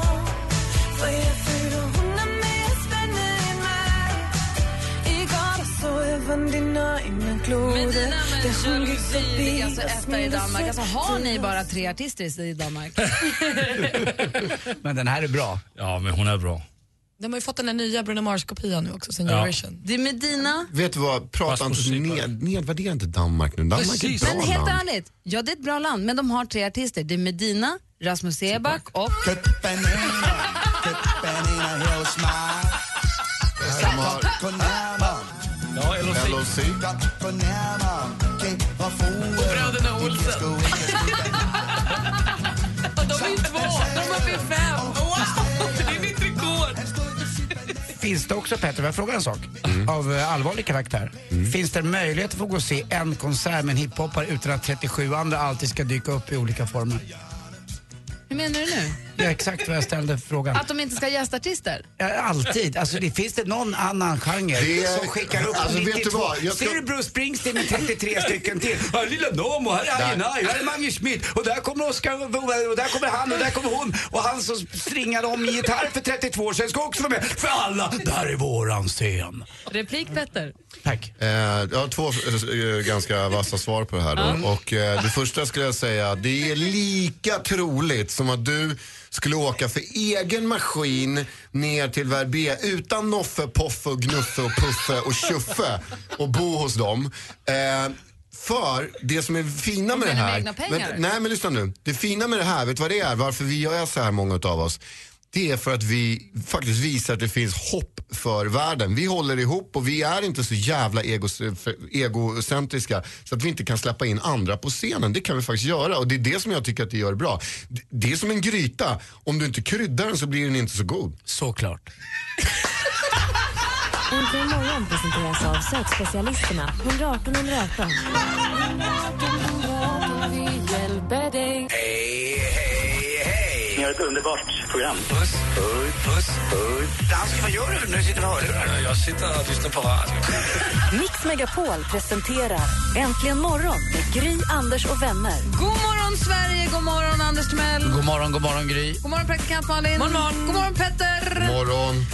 S15: For jeg føler hun er mere spændende end mig I går der så jeg, hvordan dine øjne glodede
S6: Medina
S15: Da
S6: med
S15: hun gik
S6: jalousi
S15: forbi
S6: ligger alltså
S15: og
S6: etta i
S15: smilte
S6: Danmark. Alltså har
S15: sødt
S6: ni
S15: til
S6: bara
S15: os.
S6: tre artister i Danmark?
S4: Men den här är bra.
S16: Ja, men hon är bra.
S7: De har ju fått den där nya Bruno Mars-kopian nu också sen
S5: Ja.
S7: Eurovision.
S6: Det är Medina.
S5: Vet du vad, prata inte, ned, nedvärdera inte Danmark nu. Danmark är ett
S6: Men
S5: bra
S6: helt
S5: land.
S6: ärligt, ja det är ett bra land, men de har tre artister. Det är Medina, Rasmus Seback och...
S5: LOC.
S15: Och bröderna Olsen. De är två, de har blivit fem. Wow, det är mitt rekord.
S4: Finns det också, Petter, får jag fråga en sak? Av eh, allvarlig karaktär. Finns det möjlighet att få gå och se en konsert med en hiphoppare utan att 37 andra alltid ska dyka upp i olika former?
S6: Hur menar du nu?
S4: Det är exakt vad jag ställde frågan.
S6: Att de inte ska ha gästartister?
S4: Ja, Alltid. Alltså, det, finns det någon annan genre
S5: Det-
S4: som skickar upp
S5: Alltså, vet du
S4: 92?
S5: vad? Jag ska-
S4: Ser du Bruce Springsteen med 33 stycken till? Här är Lilla Nomo, här är
S5: Där.
S4: Ajenaj, här är Magnus Schmidt och där kommer Oscar och där kommer han och där kommer hon och han som stringade om gitarr för 32 år sedan ska också vara med. För alla, där är våran scen.
S6: Replik Petter.
S4: Tack.
S5: Eh, jag har två eh, ganska vassa svar på det här. Då. Och, eh, det första skulle jag säga, det är lika troligt som att du skulle åka för egen maskin ner till Verbier utan Noffe, Poffe, och Gnuffe, och Puffe och Tjuffe och bo hos dem. Eh, för det som är fina med det
S15: dina
S5: här...
S15: egna pengar.
S5: Vänta, nej men lyssna nu. Det fina med det här, vet du vad det är? Varför vi är så här många av oss? Det är för att vi faktiskt visar att det finns hopp för världen. Vi håller ihop och vi är inte så jävla egos- egocentriska så att vi inte kan släppa in andra på scenen. Det kan vi faktiskt göra och det är det som jag tycker att det gör bra. Det- Det är som en gryta. Om du inte kryddar den så blir den inte så god.
S4: Såklart.
S2: Äntligen morgon presenteras av sökspecialisterna 118 118.
S15: Hej, hej, hej! Ni har ett underbart program. Puss, puss, puss, puss. Dansk, vad gör du? Nu sitter du och hörlurar. Jag sitter och lyssnar på radio.
S1: Mix Megapol presenterar Äntligen morgon med Gry, Anders och vänner.
S6: God morgon Sverige, god morgon Anders Timell.
S1: God
S4: God morgon, god morgon Gry.
S6: God morgon praktikant Malin. God morgon, god morgon Petter.
S5: Morgon.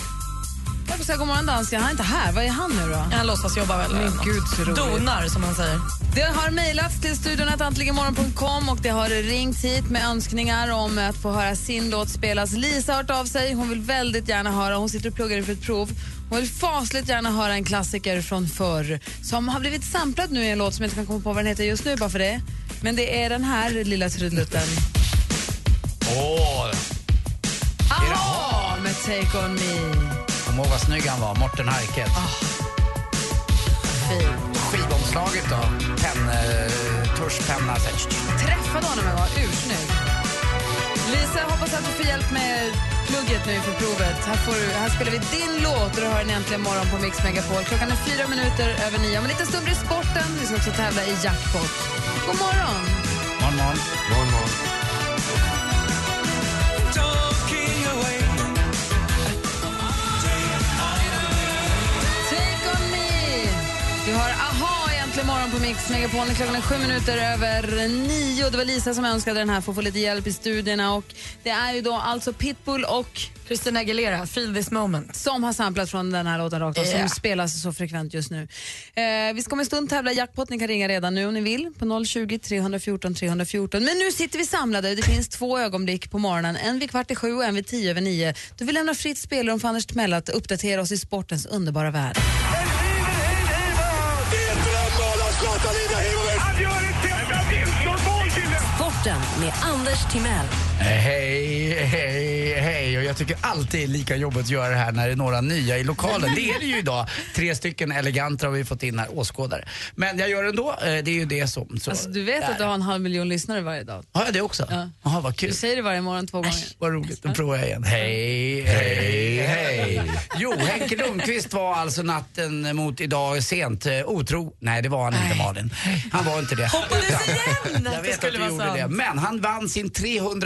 S6: Jag får säga god morgon dansken, han är inte här. Vad är han nu då?
S7: Han låtsas jobba väl.
S6: Min gud så roligt.
S7: Donar som man säger.
S6: Det har mejlats till studion att antligenmorgon.com och det har ringt hit med önskningar om att få höra sin låt spelas. Lisa har hört av sig. Hon vill väldigt gärna höra. Hon sitter och pluggar inför ett prov. Hon vill fasligt gärna höra en klassiker från förr som har blivit samplad nu i en låt som jag inte kan komma på vad den heter just nu bara för det. Men det är den här lilla trudelutten.
S4: Åh!
S6: Aha! Med Take On Me.
S4: Kom ihåg vad snygg han var, Morten Harket.
S6: Fin.
S4: Skivomslaget då? Pen, eh, tuschpenna. så här.
S6: Träffade honom en gång. Ursnygg. Lisa, jag hoppas att du får hjälp med plugget nu inför provet. Här, får du, här spelar vi din låt och du hör den äntligen morgon på Mix Megapol. Klockan är fyra minuter över nio. Om en liten stund blir det sporten. Vi ska också tävla i jackpot. God morgon!
S4: Morgon, morgon.
S5: morgon, morgon.
S6: Take on me! Du har Aha egentligen morgon på Mix Megapol. Klockan är sju minuter över nio. Det var Lisa som önskade den här för att få lite hjälp i studierna. Och det är ju då alltså Pitbull och
S7: Christina Aguilera, Feel this moment.
S6: Som har samplat från den här låten rakt av,
S7: Yeah.
S6: som spelas så frekvent just nu. Eh, vi ska om en stund tävla i jackpot. Ni kan ringa redan nu om ni vill på 020 314 314. Men nu sitter vi samlade. Det finns två ögonblick på morgonen. En vid kvart i sju och en vid tio över nio. Då vi lämnar fritt spelrum för Anders Timell att uppdatera oss i sportens underbara värld.
S2: Sporten med Anders Timell.
S4: Eh, Hej, hej, hej. Och jag tycker alltid det är lika jobbigt att göra det här när det är några nya i lokalen. Det är det ju idag. Tre stycken eleganta har vi fått in här, åskådare. Men jag gör det ändå. Eh, Det är ju det som... Så.
S6: Alltså, du vet
S4: där.
S6: att du har en halv miljon lyssnare varje dag.
S4: Har jag det också? Jaha, vad kul.
S6: Du säger det varje morgon två gånger.
S4: Vad roligt, då provar jag igen. Hej, hej, hej. Jo, Henke Lundqvist var alltså natten mot idag sent eh, otro. Nej, det var han inte Malin. Han var inte det. Hoppades igen Jag
S15: att det
S4: vet att
S15: skulle
S4: du
S15: vara
S4: gjorde
S15: sant.
S4: det. Men han vann sin 302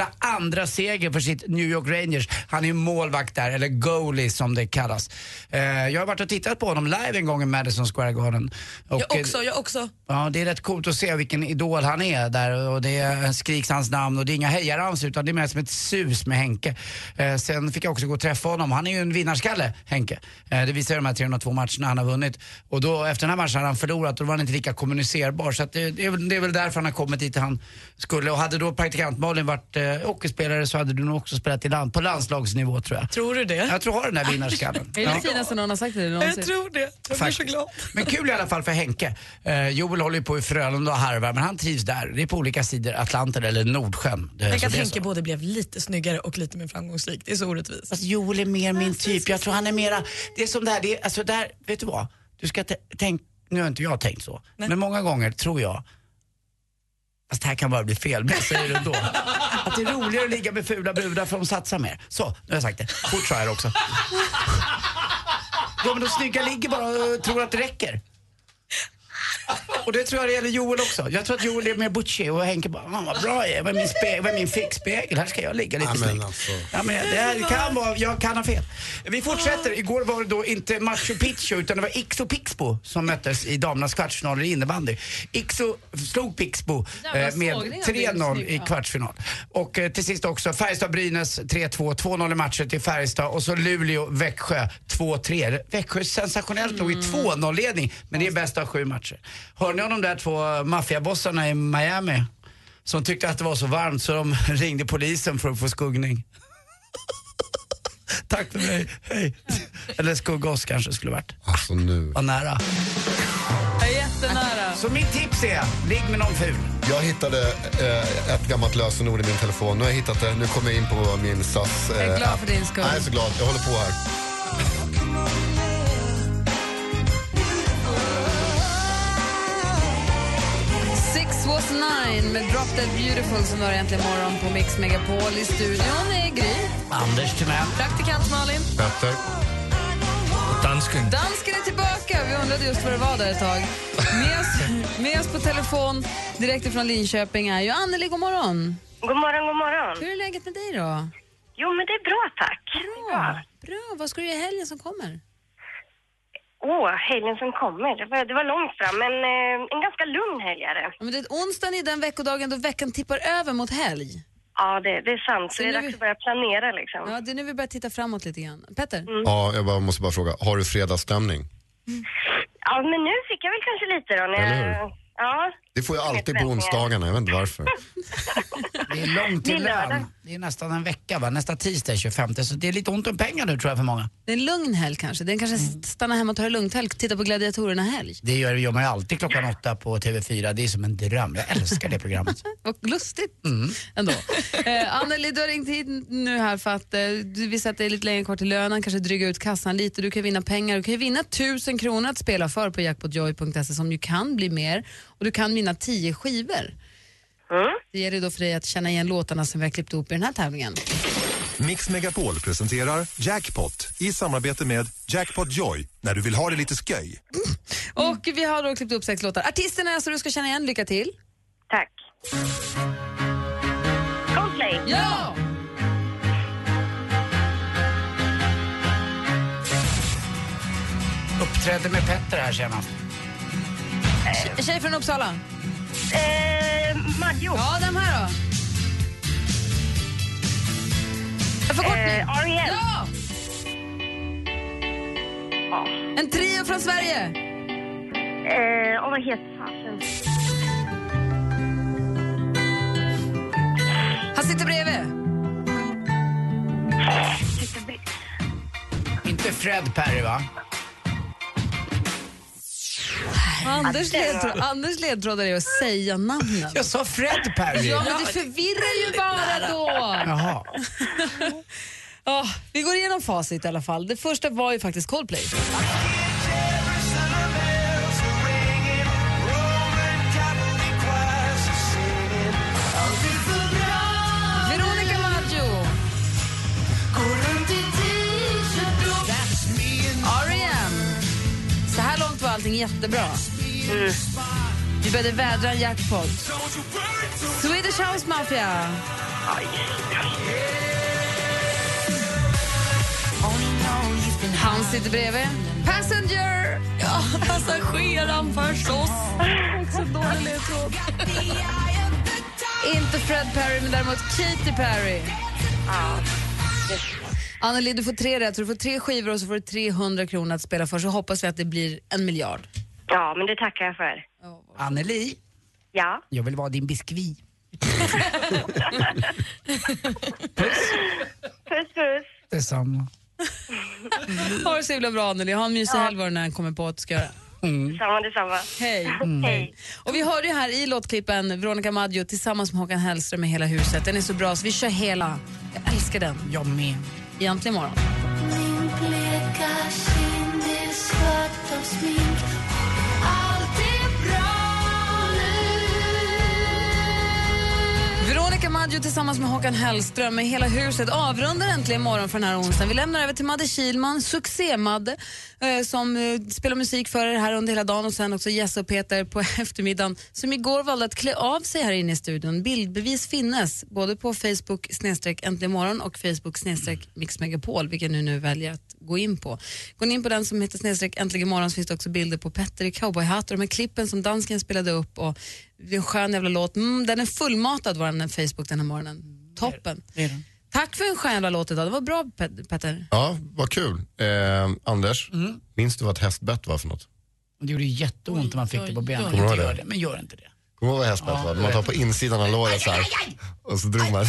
S4: seger för sitt New York Rangers. Han är ju målvakt där, eller goalie som det kallas. Eh, Jag har varit och tittat på honom live en gång i Madison Square Garden. Och,
S7: Jag
S4: eh,
S7: också, jag också.
S4: Ja, det är rätt coolt att se vilken idol han är där och det skriks hans namn och det är inga hejarams utan det är mer som ett sus med Henke. Eh, sen fick jag också gå och träffa honom. Han är ju en vinnarskalle, Henke. Eh, det visar ju de här 302 matcherna han har vunnit. Och då, efter den här matchen hade han förlorat och då var han inte lika kommunicerbar. Så att det, det, är, väl- det är väl därför han har kommit dit han skulle. Och hade då praktikant Malin varit eh, hockeyspelare så hade du nog också spelat i land, på landslagsnivå tror jag.
S7: Tror du det?
S4: Jag tror jag har den här vinnarskallen.
S6: Är det det finaste någon har sagt till dig någonsin?
S7: tror det. Jag
S4: Faktiskt. Men kul i alla fall för Henke. Eh, Joel håller ju på i Frölunda och harvar, men han trivs där. Det är på olika sidor Atlanten eller Nordsjön. Det,
S7: Tänk
S4: så
S7: att
S4: det är
S7: Henke både blev lite snyggare och lite mer framgångsrik. Det är så orättvist.
S4: Fast Joel är mer min typ. Jag tror han är mera... Det är som det här, det är, alltså där, vet du vad? Du ska t- tänk, nu har inte jag tänkt så, men många gånger tror jag Fast det här kan bara bli fel, men jag säger det ändå. Att det är roligare att ligga med fula brudar för de satsar mer. Så, nu har jag sagt det. Fort sa jag det också. Ja, men de snygga ligger bara och eh, tror att det räcker. Och det tror jag det gäller Joel också. Jag tror att Joel är mer butchig och Henke bara, "Ah, vad bra jag är, vad är min, spe- vad är min fickspegel? Här ska jag ligga lite
S5: Ja, men
S4: snyggt.
S5: alltså.
S4: Ja, men det här kan vara, jag kan ha fel. Vi fortsätter. Igår var det då inte Machu Picchu utan det var Ixo Pixbo som möttes i damernas kvartsfinaler i innebandy. Ixo slog Pixbo
S15: Jävla
S4: eh, med
S15: sågning av
S4: 3-0
S15: Pixbo,
S4: i
S15: ja.
S4: kvartsfinal. Och eh, till sist också Färjestad-Brynäs 3-2, 2-0 i matcher till Färjestad och så Luleå-Växjö 2-3. Växjö sensationellt nog i 2-0-ledning, men det är bäst av sju matcher. Hörde ni om de där två maffiabossarna i Miami? Som tyckte att det var så varmt så de ringde polisen för att få skuggning. Tack för mig, hej. Eller skuggås kanske skulle varit.
S5: Alltså nu.
S4: Var nära.
S6: Jättenära.
S4: Så mitt tips är, ligg med någon ful.
S5: Jag hittade eh, ett gammalt lösenord i min telefon. Nu har jag hittat det. Nu kommer jag in på min SAS. Eh,
S6: Jag är glad för
S5: app.
S6: din skull.
S5: Nej, Jag är så glad. Jag håller på här.
S6: Six was nine med Drop Dead Beautiful som du har egentligen morgon på Mix Megapol i studion. är Gry.
S4: Anders Timell.
S6: Praktikant Malin.
S5: Petter.
S16: Dansken.
S6: Dansken är tillbaka. Vi undrade just vad det var där ett tag. Med oss, med oss på telefon direkt från Linköping är ju Anneli. God morgon.
S18: God morgon, god morgon.
S6: Hur är läget med dig då?
S18: Jo, men det är bra tack.
S6: Bra. Bra. Vad ska du göra i helgen som kommer?
S18: Åh, helgen som kommer. Det var, det var långt fram, men eh, en ganska lugn helg är det.
S6: Ja, men det är onsdagen i den veckodagen då veckan tippar över mot helg.
S18: Ja, det, det är sant. Så det är
S6: nu
S18: dags att börja planera liksom.
S6: Ja, det är nu vi börjar titta framåt lite grann. Petter?
S5: Ja, jag bara, måste bara fråga, har du fredagsstämning?
S18: Ja, men nu fick jag väl kanske lite då när
S5: Eller
S18: jag... Ja.
S5: Det får jag
S18: Inga
S5: alltid på
S18: förväntningar.
S5: onsdagarna, jag vet inte varför.
S4: Det är långt
S6: Det är
S4: till
S6: lördag.
S4: lön. Det är nästan en vecka va? Nästa tisdag är 25 så det är lite ont om pengar nu tror jag för många.
S6: Det är en lugn helg kanske. Den kanske stannar hemma och tar det lugnt helg. Titta på Gladiatorerna-helg.
S4: Det gör, gör man ju alltid klockan åtta på TV4, det är som en dröm. Jag älskar det programmet.
S6: Och lustigt
S4: Mm.
S6: ändå. eh, Anneli, du har ringt hit nu här för att eh, du visste att det är lite längre kvar till lönen, kanske dryga ut kassan lite. Du kan vinna pengar. Du kan ju vinna 1000 kronor att spela för på jackpotjoy.se som ju kan bli mer. Och du kan vinna 10 skivor. Det gäller ju då för dig att känna igen låtarna som vi har klippt ihop i den här tävlingen.
S14: Mix Megapol presenterar Jackpot i samarbete med Jackpot Joy när du vill ha det lite sköj.
S6: Och vi har då klippt upp sex låtar. Artisterna är så du ska känna igen. Lycka till.
S18: Tack. Coldplay.
S6: Ja!
S4: Uppträdde med Petter här senast.
S6: Tje- Tjej från Uppsala.
S18: Eh, Maggio.
S6: Ja, den här då. En förkortning.
S18: Eh, R.E.M.
S6: Ja! En trio från Sverige.
S18: Eh, och vad heter fasen?
S6: Han sitter bredvid.
S4: Inte Fred Perry va?
S6: Anders, ledtråd, Anders ledtråd är att säga namnen.
S4: Jag sa Fred Perry.
S6: Ja, men du förvirrar ju bara då.
S4: Jaha.
S6: Ja, vi går igenom facit i alla fall. Det första var ju faktiskt Coldplay. Veronica Maggio. R.E.M. Så här långt var allting jättebra. Vi började vädra en jackpot. Swedish House Mafia. Han sitter bredvid. Passenger! Ja, passageraren förstås. Också dålig tråd. Inte Fred Perry, men däremot Katy Perry. Anneli, du får tre rätt. så Du får tre skivor och så får du 300 kronor att spela för. Så hoppas vi att det blir en miljard.
S18: Ja, men det tackar jag för.
S4: Anneli,
S18: Ja.
S4: jag vill vara din biskvi.
S18: Puss, puss.
S4: Detsamma.
S6: Ha det så himla bra, Anneli. Ha en mysig helg vad du än kommer på att du ska göra.
S18: Detsamma, detsamma.
S6: Hej.
S18: Hej.
S6: Och vi hörde ju här i låtklippen Veronica Maggio tillsammans med Håkan Hellström i Hela huset. Den är så bra så vi kör hela. Jag älskar den.
S4: Jag med.
S6: Egentligen imorgon. Veronica Maggio tillsammans med Håkan Hellström med Hela huset avrundar äntligen morgon för den här onsdagen. Vi lämnar över till Madde Kilman, succé-Madde, eh, som eh, spelar musik för er här under hela dagen och sen också Jesse och Peter på eftermiddagen som igår valde att klä av sig här inne i studion. Bildbevis finnes både på Facebook snedstreck äntligen morgon och Facebook snedstreck Mix Megapol, vilken du nu väljer att gå in på. Går ni in på den som heter snedstreck äntligen morgon så finns det också bilder på Petter i cowboyhatt och de här klippen som dansken spelade upp och det är en skön jävla låt. Mm, den är fullmatad, vår Facebook den här morgonen. Toppen. Tack för en skön jävla låt idag. Det var bra, Pet- Petter.
S5: Ja, vad kul. Eh, Anders,
S14: Mm.
S5: minns du vad ett hästbett var för något?
S4: Det gjorde jätteont när man fick det på benen.
S5: Kommer du ihåg
S4: Inte gör
S5: det?
S4: Men gör inte det.
S5: Kommer du ihåg vad hästbett
S4: Ja,
S5: var?
S4: jag
S5: Man tar
S4: vet.
S5: på insidan av låret så här. Och så drog man.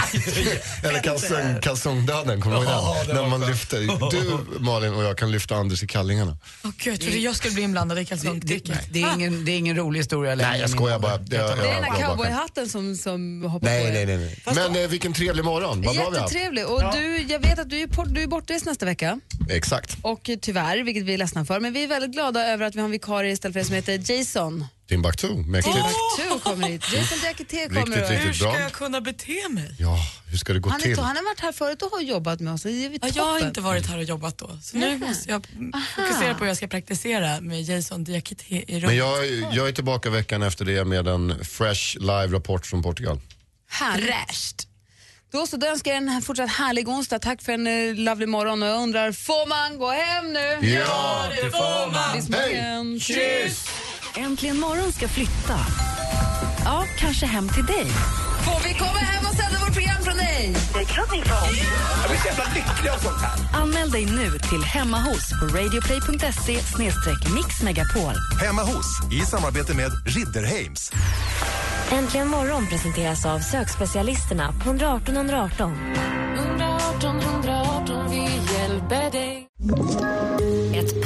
S5: Eller kalsong, kalsongdöden, kommer du ihåg
S12: Ja,
S5: den?
S12: den
S5: När man lyfter. Du Malin och jag kan lyfta Anders i kallingarna.
S7: Åh Gud, jag trodde jag skulle bli inblandad i kalsongdricka.
S4: Det är ingen, det är ingen rolig historia längre.
S5: Nej, jag skojar bara. Jag, jag,
S6: Det är den
S5: jag,
S6: här
S5: jag bara-
S6: cowboyhatten som, som hoppar på
S5: nej,
S6: er.
S5: nej, nej. nej. Men eh, vilken trevlig morgon. Vad bra vi har haft.
S6: Jättetrevlig. Och du, jag vet att du är, på, du är bortrest nästa vecka.
S5: Exakt.
S6: Och eh, tyvärr, vilket vi är ledsna för. Men vi är väldigt glada över att vi har en vikarie istället för dig som heter Jason.
S5: Timbuktu, mäktigt.
S6: Timbuktu kommer hit. Jason Diakité kommer.
S5: Riktigt, riktigt Hur ska bra. jag
S6: kunna bete mig?
S5: Ja, hur ska det gå
S6: Han, är,
S5: till?
S6: to- han har varit här förut och har jobbat med oss. Det är
S7: Ja, jag har inte varit här och jobbat då. Så nu
S6: Nähä.
S7: måste jag fokusera på hur jag ska praktisera med Jason Diakité i rummet.
S5: Men jag, jag är tillbaka veckan efter det med en fresh live-rapport från Portugal.
S6: Härligt. Då så, då önskar jag en här- fortsatt härlig onsdag. Tack för en eh, lovely morgon och jag undrar, får man gå hem nu?
S1: Ja, det får man.
S6: Tills
S1: Hej.
S6: morgon.
S1: Äntligen morgon ska flytta. Ja, kanske hem till dig.
S6: Får vi komma hem och sända vårt program från dig? mig.
S19: Jag blir så jävla lycklig av sånt här.
S6: Anmäl dig nu till Hemma hos på radioplay.se mixmegapol.
S3: Hemma hos, i samarbete med Ridderheims.
S20: Äntligen morgon presenteras av sökspecialisterna på 118 118.
S19: 118 118, vi hjälper dig.
S1: Ett